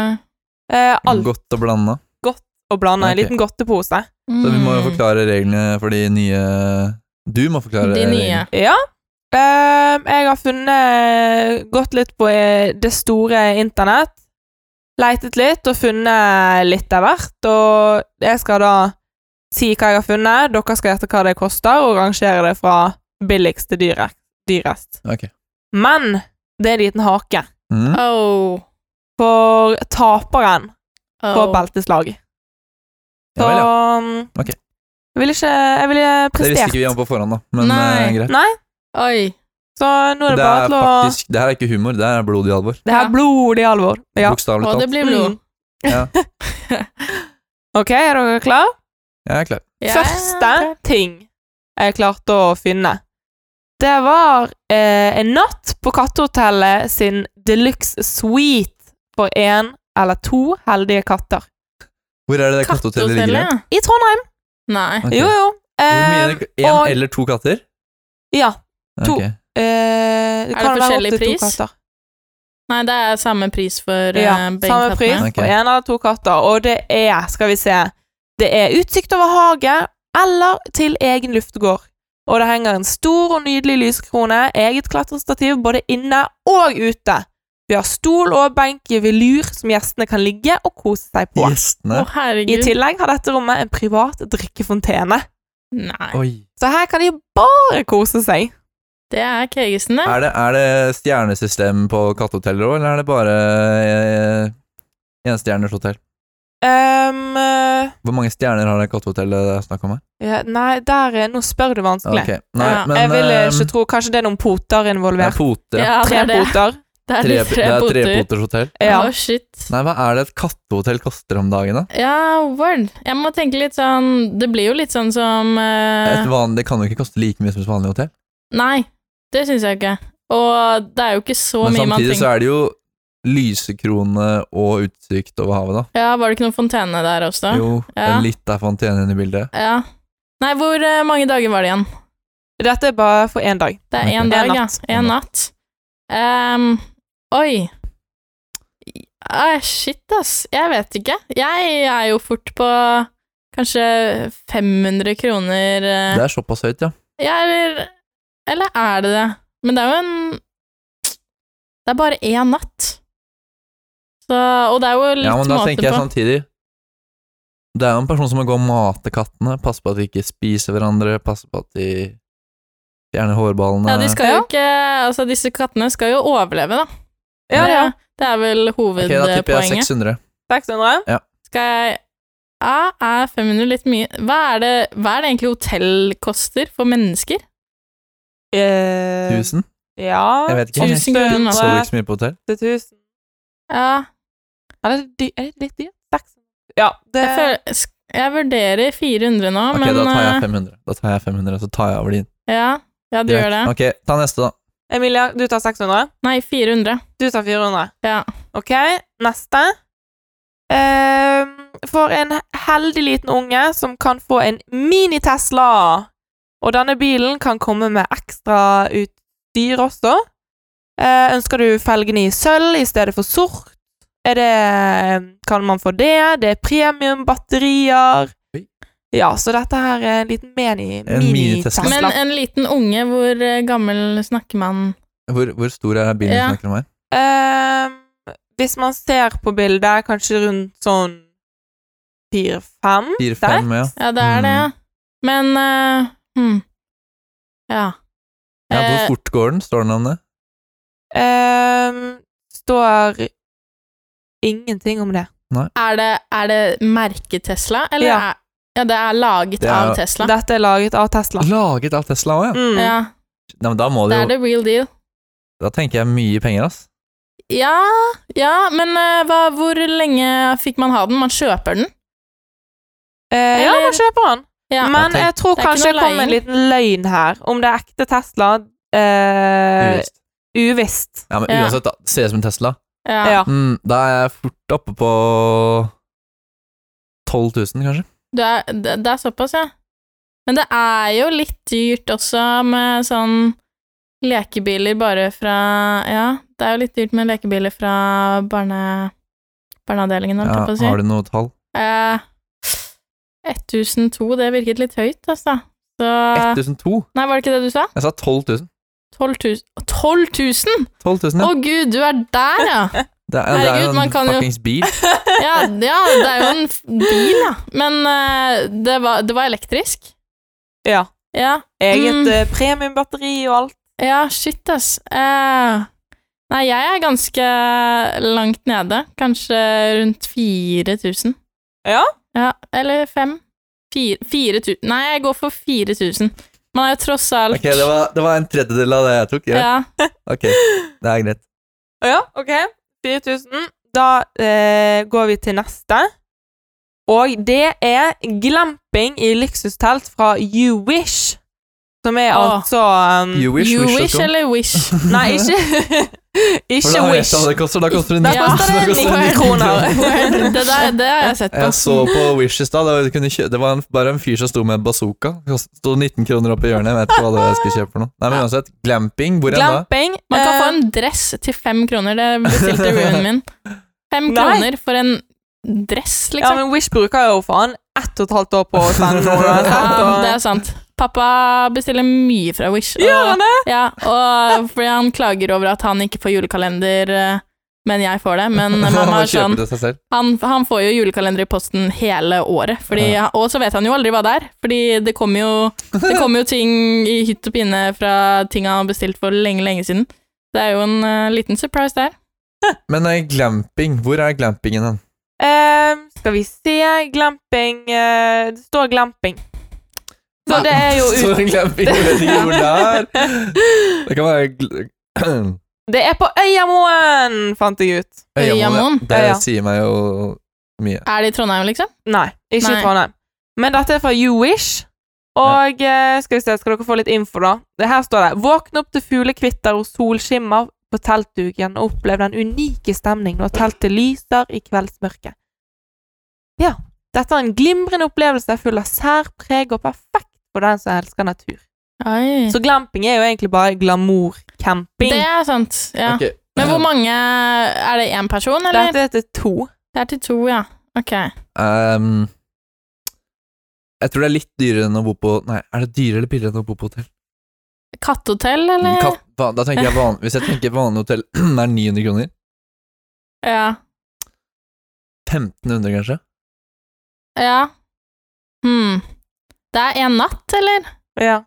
Speaker 1: Eh, alt
Speaker 3: Godt å blande.
Speaker 1: å blande. En
Speaker 3: Ok.
Speaker 1: liten godtepose.
Speaker 3: Så vi må jo
Speaker 2: Mm.
Speaker 3: forklare reglene for de nye Du må forklare
Speaker 2: De nye.
Speaker 3: reglene.
Speaker 1: Ja. Eh, jeg har funnet Gått litt på eh, det store internett. Leitet litt og funnet litt av hvert. Og jeg skal da si hva jeg har funnet, dere skal gjette hva det koster, og rangere det fra billigst til dyre- dyrest.
Speaker 3: Ok.
Speaker 1: Men det er en liten hake.
Speaker 3: Mm.
Speaker 2: Oh.
Speaker 1: For taperen får
Speaker 2: oh.
Speaker 1: belteslag.
Speaker 3: Ja
Speaker 1: Så
Speaker 3: vel, ja. Ok.
Speaker 1: Jeg ville ikke Jeg ville
Speaker 3: Det visste
Speaker 1: prestert.
Speaker 3: ikke vi om på forhånd, da. Men
Speaker 2: Nei.
Speaker 3: eh, greit.
Speaker 1: Nei,
Speaker 2: Oi.
Speaker 1: så nå er det,
Speaker 3: Det
Speaker 1: bare
Speaker 3: er
Speaker 1: til å
Speaker 3: faktisk Det her er ikke humor, det her er blodig alvor.
Speaker 1: Det her er
Speaker 2: Ja.
Speaker 1: blod i alvor. Ja.
Speaker 3: Bokstavelig
Speaker 2: Og det
Speaker 3: talt.
Speaker 2: blir blod.
Speaker 3: Ja.
Speaker 1: ok, er dere klare?
Speaker 3: Jeg er klar.
Speaker 2: Ja,
Speaker 1: Første
Speaker 2: ja, ok.
Speaker 1: ting jeg klarte å finne, det var eh, en natt på Kattehotellet sin deluxe suite for én eller to heldige katter.
Speaker 3: Hvor er det det kattehotellet ligger? igjen?
Speaker 2: Katthotellet,
Speaker 1: I Trondheim.
Speaker 2: ja. Nei.
Speaker 3: Ok.
Speaker 1: Jo, jo.
Speaker 3: Hvor mye
Speaker 1: Eh,
Speaker 3: er det? En
Speaker 1: og-
Speaker 3: eller to katter?
Speaker 1: ja. To.
Speaker 3: Ok.
Speaker 1: Eh,
Speaker 2: det
Speaker 1: kan være opp
Speaker 2: forskjellig
Speaker 1: til to
Speaker 2: pris?
Speaker 1: katter.
Speaker 2: Nei, det er samme pris for
Speaker 1: Ja,
Speaker 2: eh, begge
Speaker 1: samme pris
Speaker 2: kattene.
Speaker 3: Ok.
Speaker 1: på én eller to katter. Og det er, skal vi se Det er utsikt over hage eller til egen luftegård. Og det henger en stor og nydelig lyskrone, eget klatrestativ både inne og ute. Vi har stol og benk i velur som gjestene kan ligge og kose seg på.
Speaker 2: Å,
Speaker 3: Gjestene
Speaker 1: I
Speaker 2: herregud.
Speaker 1: tillegg har dette rommet en privat drikkefontene,
Speaker 2: Nei.
Speaker 3: Oi.
Speaker 1: så her kan de bare kose seg.
Speaker 2: Det er Kegesen, det.
Speaker 3: Er det, er det stjernesystem på kattehoteller òg, eller er det bare eh, enstjerners hotell?
Speaker 1: Ehm, eh,
Speaker 3: Hvor mange stjerner har det kattehotellet det er snakk om her?
Speaker 1: ja, nei, der er- Nå spør du vanskelig.
Speaker 3: Ok. Nei,
Speaker 2: Ja,
Speaker 3: men
Speaker 1: jeg vil eh,
Speaker 3: eh,
Speaker 1: ikke tro Kanskje det er noen poter
Speaker 3: det
Speaker 1: involvert.
Speaker 3: er poter. ja.
Speaker 2: Ja, det
Speaker 1: Tre
Speaker 2: er det.
Speaker 1: poter.
Speaker 2: Det er
Speaker 3: Tre,
Speaker 2: de
Speaker 3: det
Speaker 2: tre
Speaker 3: er
Speaker 2: poter.
Speaker 3: trepoters hotell.
Speaker 1: Ja.
Speaker 2: Å, shit.
Speaker 3: Nei, hva er det et kattehotell koster om dagen, da?
Speaker 2: Ja, word. Jeg må tenke litt sånn Det blir jo litt sånn som eh,
Speaker 3: Et vanlig, det kan jo ikke koste like mye som et vanlig hotell.
Speaker 2: Nei, det syns jeg ikke. Og det er jo ikke så
Speaker 3: Men
Speaker 2: mye man
Speaker 3: samtidig så
Speaker 2: trenger.
Speaker 3: er det jo lysekrone og utsikt over havet, da.
Speaker 2: Ja, var det ikke noen fontene der også?
Speaker 3: Jo,
Speaker 2: Ja.
Speaker 3: litt er fontenen i bildet.
Speaker 2: Ja. Nei, hvor eh, mange dager var det igjen?
Speaker 1: Dette er bare for én dag.
Speaker 2: Det er
Speaker 3: Ok.
Speaker 2: én dag,
Speaker 1: En
Speaker 2: ja.
Speaker 1: natt.
Speaker 2: Én natt. Ehm, oi. Ah, shit, ass. Jeg vet ikke. Jeg er jo fort på kanskje 500 kroner eh.
Speaker 3: Det er såpass høyt, ja.
Speaker 2: Ja, eller Eller er det det? Men det er jo en Det er bare én natt. Så Og det er jo litt
Speaker 3: ja men da
Speaker 2: måte
Speaker 3: tenker jeg sånn,
Speaker 2: på.
Speaker 3: samtidig Det er jo en person som må gå og mate kattene, passe på at de ikke spiser hverandre, passe på at de fjerner hårballene
Speaker 2: ja, de skal jo
Speaker 1: Ja.
Speaker 2: ikke Altså, disse kattene skal jo overleve, da.
Speaker 1: Ja, ja.
Speaker 2: Det, det er vel
Speaker 3: Ok, da tipper jeg
Speaker 2: hovedpoenget.
Speaker 3: 600.
Speaker 1: 600.
Speaker 2: skal jeg Ja, er 500 litt mye Hva er det, hva er det egentlig hotell koster for mennesker?
Speaker 1: Eh,
Speaker 3: 1000?
Speaker 1: Ja
Speaker 3: Jeg vet ikke.
Speaker 2: Tusen kroner.
Speaker 3: Så du ikke så mye på hotell?
Speaker 1: 8000.
Speaker 2: Ja,
Speaker 1: Er det, dy- er det litt dyrt? 600. Ja, det
Speaker 2: jeg, føler, sk- jeg vurderer 400 nå,
Speaker 3: Ok,
Speaker 2: men
Speaker 3: da tar jeg
Speaker 2: eh,
Speaker 3: 500. Da tar jeg 500, så tar jeg over din.
Speaker 2: ja, ja, du gjør det.
Speaker 3: Ok, ta neste, da.
Speaker 1: Emilia, du tar 600.
Speaker 2: Nei, 400.
Speaker 1: Du tar 400.
Speaker 2: Ja.
Speaker 1: Ok, neste. Eh, for en heldig liten unge som kan få en mini-Tesla. Og denne bilen kan komme med ekstra utstyr også. Eh, ønsker du felgene i sølv i stedet for sort? Er det, ehm, kan man få det? Det er premiumbatterier.
Speaker 3: Oi.
Speaker 1: Ja, så dette her er en liten mini-
Speaker 3: En
Speaker 1: mini-Tesla.
Speaker 3: mini-Tesla.
Speaker 2: Men eh, en liten unge, hvor eh, gammel snakker man
Speaker 3: Hvor, hvor stor er bilen
Speaker 2: Ja.
Speaker 3: du snakker om her?
Speaker 1: Ehm, hvis man ser på bildet, kanskje rundt sånn fire-fem
Speaker 3: 4-5, ja.
Speaker 2: Ja, det er det,
Speaker 3: Mm.
Speaker 2: ja. Men eh, hm. Ja.
Speaker 3: ja. Hvor
Speaker 2: Eh,
Speaker 3: fort går den? Står den om det?
Speaker 1: Ehm, står ingenting om det.
Speaker 2: er det, er det merket Tesla, eller
Speaker 1: Ja.
Speaker 2: er ja, det er laget
Speaker 3: Det er
Speaker 2: av
Speaker 3: jo-
Speaker 2: Tesla?
Speaker 1: Dette er laget av Tesla.
Speaker 3: Laget av Tesla òg, ja.
Speaker 1: Mm.
Speaker 2: ja,
Speaker 3: Nei, men da må
Speaker 2: det
Speaker 3: det
Speaker 2: er the
Speaker 3: jo
Speaker 2: real deal.
Speaker 3: Da tenker jeg mye penger, ass.
Speaker 2: Ja, ja, men eh, hva, hvor lenge fikk man ha den? Man kjøper den?
Speaker 1: Eh, ja,
Speaker 2: Eller-
Speaker 1: man kjøper den.
Speaker 2: Ja.
Speaker 1: Men
Speaker 3: Ja, tenk-
Speaker 1: jeg tror
Speaker 2: Det er ikke
Speaker 1: kanskje
Speaker 2: noe
Speaker 1: det kom en
Speaker 2: leie.
Speaker 1: liten løgn her. Om det er ekte Tesla eh,
Speaker 3: Uvisst.
Speaker 1: Uvisst.
Speaker 3: Ja, men
Speaker 2: Ja.
Speaker 3: uansett, da. Ser ut som en Tesla.
Speaker 2: Ja.
Speaker 1: Ja.
Speaker 3: Mm, da er jeg fort oppe på 12 000, kanskje.
Speaker 2: Du er, det, det er såpass, ja. Men det er jo litt dyrt også med sånn lekebiler bare fra Ja, det er jo litt dyrt med lekebiler fra barne, barneavdelingen, holdt jeg på å si.
Speaker 3: har du noe tall?
Speaker 2: Eh, 1002, det virket litt høyt, altså. Så
Speaker 3: 1002?
Speaker 2: Nei, var det ikke det du sa?
Speaker 3: Jeg sa 12 000.
Speaker 2: 12 000? 12 000?
Speaker 3: 12 000
Speaker 2: Å
Speaker 3: ja.
Speaker 2: gud, du er der, ja!
Speaker 3: Det er, det er
Speaker 2: herregud,
Speaker 3: jo
Speaker 2: man
Speaker 3: en
Speaker 2: kan jo-
Speaker 3: fuckings
Speaker 2: (laughs)
Speaker 3: bil.
Speaker 2: Ja, ja det er jo en f- bil, ja. Men eh, det, var, det var elektrisk.
Speaker 1: Ja.
Speaker 2: Ja.
Speaker 1: Eget
Speaker 2: Mm.
Speaker 1: eh, premiumbatteri og alt.
Speaker 2: Ja, shit, ass. Eh, nei, jeg er ganske langt nede. Kanskje rundt 4000.
Speaker 1: Ja?
Speaker 2: Ja, eller 5. 4000 Nei, jeg går for 4000. Man er jo tross alt
Speaker 3: Ok, det var, det var en tredjedel av det jeg tok. Ja.
Speaker 2: ja.
Speaker 3: Ok, det er greit.
Speaker 1: Å Ja, ok. 4000. Da eh, går vi til neste. Og det er glamping i luksustelt fra You Wish. Som er
Speaker 2: Åh.
Speaker 1: altså um,
Speaker 3: You wish,
Speaker 2: Mm. you
Speaker 3: wish,
Speaker 2: wish eller wish?
Speaker 3: (laughs)
Speaker 1: (laughs) Nei,
Speaker 2: (laughs)
Speaker 1: ikke
Speaker 3: For
Speaker 1: Ikke
Speaker 3: da vet
Speaker 1: Wish.
Speaker 3: jeg hva det koster. (laughs) Da koster det
Speaker 1: Da
Speaker 3: 19
Speaker 1: koster det
Speaker 3: sånn
Speaker 1: 19 (laughs) kroner.
Speaker 3: (laughs)
Speaker 2: det, der, det har jeg sett på.
Speaker 3: Jeg så på Wish i stad. Det, kunne kjø- det var en, bare en fyr som sto med en bazooka. Kost- Sto 19 kroner oppi hjørnet. Jeg vet ikke hva det var jeg skulle kjøpe for noe. Nei, men uansett, glamping. Hvor enn da?
Speaker 1: Glamping
Speaker 2: Man kan få
Speaker 1: eh,
Speaker 2: en dress til fem kroner. Det bestilte roomien min. Fem
Speaker 1: Nei.
Speaker 2: kroner for en dress,
Speaker 1: Ja,
Speaker 2: liksom.
Speaker 1: men Wish bruker jo faen ett og et halvt år på å sende
Speaker 3: (laughs)
Speaker 1: noe altså. uansett.
Speaker 2: Ja, det
Speaker 1: og-
Speaker 2: er sant. Pappa bestiller mye fra Wish. og-
Speaker 1: Gjør han det?
Speaker 2: Ja, og fordi han klager over at han ikke får julekalender, eh, men jeg får det. Men
Speaker 3: (laughs)
Speaker 2: mamma er sånn
Speaker 3: til seg selv.
Speaker 2: han, han får jo julekalender i posten hele året, fordi, og så vet han jo aldri hva det er. Fordi det kommer jo, det kommer jo ting i hytt og pinne fra ting han har bestilt for lenge, lenge siden. Det er jo en eh, liten surprise der.
Speaker 3: Men eh, glamping, hvor er glampingen hen?
Speaker 1: Ehm, skal vi se Glamping eh, Det står glamping. Så det er jo
Speaker 3: (laughs) Så
Speaker 1: ut,
Speaker 3: glamping, jeg vet ikke hvor det er. Det kan være gl (clears throat)
Speaker 1: Det er på Øyamoen, fant jeg ut.
Speaker 2: Øyamoen?
Speaker 3: Det
Speaker 1: Øya.
Speaker 3: sier meg jo mye.
Speaker 2: Er det i Trondheim, liksom?
Speaker 1: Nei, ikke
Speaker 2: Nei.
Speaker 1: i Trondheim. Men dette er fra You Wish. Og eh, skal vi se, skal dere få litt info, da. Det her står det 'Våkne opp til fuglekvitter og solskimmer på teltduken og opplev den unike stemning når teltet lyser i kveldsmørket'. Ja. Dette er en glimrende opplevelse full av særpreg og perfekt for den som elsker natur.
Speaker 2: Oi.
Speaker 1: Så glamping er jo egentlig bare glamour-camping.
Speaker 2: Det er sant, ja.
Speaker 3: Ok.
Speaker 2: Men hvor mange Er det én person, eller?
Speaker 1: Dette er til to.
Speaker 2: Det er til to, ja. Ok.
Speaker 3: Ehm, Jeg tror det er litt dyrere enn å bo på Nei, er det dyrere eller billigere enn å bo på hotell?
Speaker 2: Katthotell, eller?
Speaker 3: Katt, va- da tenker jeg van, Hvis jeg tenker vanlig hotell, (clears throat) det er 900 kroner.
Speaker 2: Ja.
Speaker 3: 1500, kanskje?
Speaker 2: Ja. Hmm. Det er en natt, eller?
Speaker 1: Ja.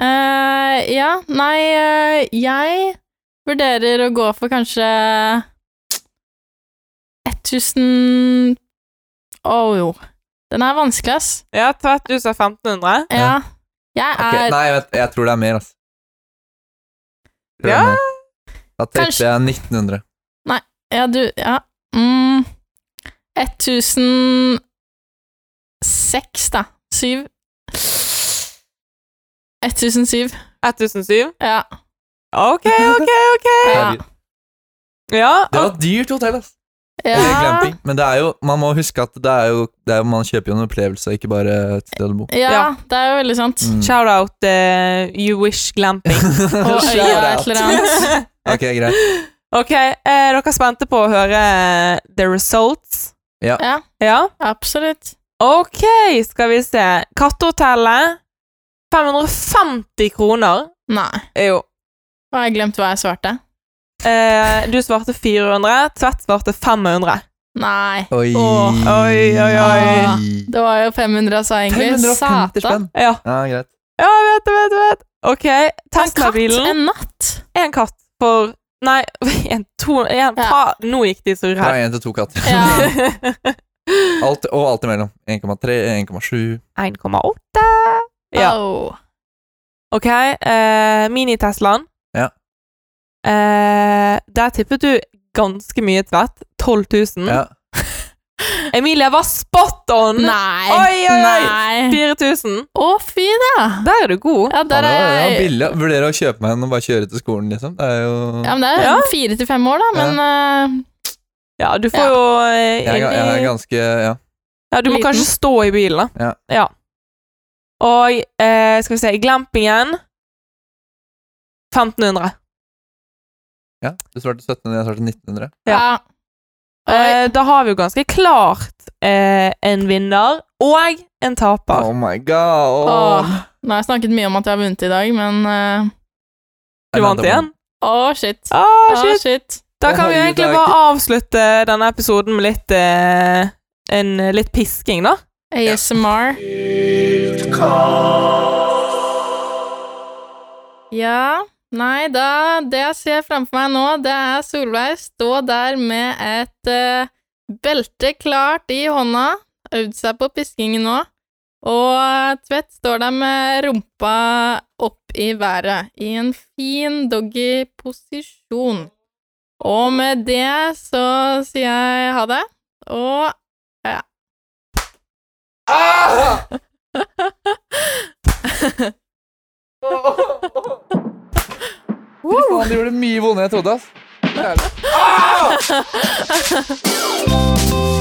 Speaker 2: Eh, ja, nei, eh, jeg vurderer å gå for kanskje 1000 Å jo. Den er vanskelig, ass.
Speaker 1: ja 1500.
Speaker 2: Ja. Jeg
Speaker 3: Ok,
Speaker 2: er
Speaker 3: Nei, jeg, vet, jeg tror det er mer, altså. Jeg tror det er
Speaker 1: Ja.
Speaker 3: mer. Da
Speaker 2: Kanskje-
Speaker 3: tenkte jeg 1900.
Speaker 2: Ja, du Ja. Mm, 1006, da. Syv. 1007.
Speaker 1: 1007.
Speaker 2: Ja.
Speaker 1: OK, OK, OK.
Speaker 2: ja.
Speaker 3: Herregud.
Speaker 1: Ja,
Speaker 3: Det var et dyrt hotell, altså. Eller
Speaker 2: ja.
Speaker 3: glamping. Men det er jo, man må huske at det er jo, det er jo man kjøper jo en opplevelse, ikke bare et sted å bo.
Speaker 2: ja,
Speaker 1: Ja.
Speaker 2: det er jo veldig sant.
Speaker 3: Mm.
Speaker 1: Shout-out eh, You Wish
Speaker 2: (laughs)
Speaker 1: Glamping.
Speaker 2: Og
Speaker 3: (laughs)
Speaker 2: øya et eller annet.
Speaker 3: Ok, greit.
Speaker 1: ok, er dere spente på å høre eh, the results?
Speaker 2: Ja,
Speaker 1: Ja?
Speaker 2: absolutt.
Speaker 1: Ok, skal vi se. Kattehotellet 550 kroner.
Speaker 2: Nei.
Speaker 1: Eh, Jo.
Speaker 2: Har jeg glemt hva jeg svarte?
Speaker 1: Eh, du svarte 400, Tvedt svarte 500.
Speaker 2: Nei.
Speaker 3: Oi.
Speaker 2: Åh.
Speaker 1: Oi, oi,
Speaker 2: oi. Det var jo 500 sa jeg egentlig. Satan.
Speaker 3: 550 spenn.
Speaker 1: Ja,
Speaker 3: Ja, greit.
Speaker 1: ja jeg vet det, vet det, vet det. Ok,
Speaker 2: En katt
Speaker 1: Tesla-bilen.
Speaker 2: en natt?
Speaker 1: En katt for Nei, (laughs) en, to en,
Speaker 2: Ja.
Speaker 1: fa, Nå gikk de så
Speaker 3: Fra
Speaker 1: her.
Speaker 3: én til to katter.
Speaker 2: Ja.
Speaker 1: (laughs)
Speaker 3: (laughs) Alt, og alt imellom. 1,3, 1,7
Speaker 1: 1,8. Ja.
Speaker 2: Au.
Speaker 1: Ok, eh, mini-Teslaen.
Speaker 3: Ja.
Speaker 1: Eh, der tippet du ganske mye tvett. 12 000.
Speaker 2: Mm.
Speaker 3: Ja.
Speaker 1: Emilie var spot on!
Speaker 2: Nei.
Speaker 1: Oi, oi, oi.
Speaker 2: Nei.
Speaker 1: 4000.
Speaker 2: Å, fy da.
Speaker 1: Der er du god.
Speaker 2: Ja, der er
Speaker 3: ja,
Speaker 2: jeg
Speaker 3: billig. Vurderer å kjøpe meg en og bare kjøre til skolen, liksom. Det er jo
Speaker 2: Ja, men det er
Speaker 1: Ja.
Speaker 2: fire til fem år, da, men eh,
Speaker 1: Ja, du får
Speaker 2: Ja.
Speaker 1: jo eh,
Speaker 3: jeg, er- jeg er
Speaker 1: inn i
Speaker 3: ganske Ja.
Speaker 1: Ja, du må
Speaker 2: liten.
Speaker 1: kanskje stå i bilen, da.
Speaker 3: Ja.
Speaker 1: Og eh, skal vi se Glampingen 1500.
Speaker 3: Ja, du svarte 1700, jeg svarte 1900.
Speaker 2: Ja.
Speaker 1: Eh, da har vi jo ganske klart eh, en vinner og en taper.
Speaker 3: Oh my god!
Speaker 2: Åh, nå har jeg snakket mye om at jeg har vunnet i dag, men eh,
Speaker 1: Du vant igjen.
Speaker 2: Å, shit. Å,
Speaker 1: Ah, shit.
Speaker 2: shit.
Speaker 1: Da kan vi
Speaker 3: Herregud,
Speaker 1: egentlig
Speaker 3: det er
Speaker 1: bare avslutte denne episoden med litt, eh, en, litt pisking, da.
Speaker 2: ASMR. Ja. Nei, da Det jeg ser framfor meg nå, det er Solveig stå der med et eh, belte klart i hånda. Øvd seg på piskingen nå. Og eh, Tvedt står der med rumpa opp i været, i en fin doggy-posisjon. Og med det så sier jeg ha det, og
Speaker 3: Faen, det gjorde mye vondere enn jeg trodde, ass. Jævlig.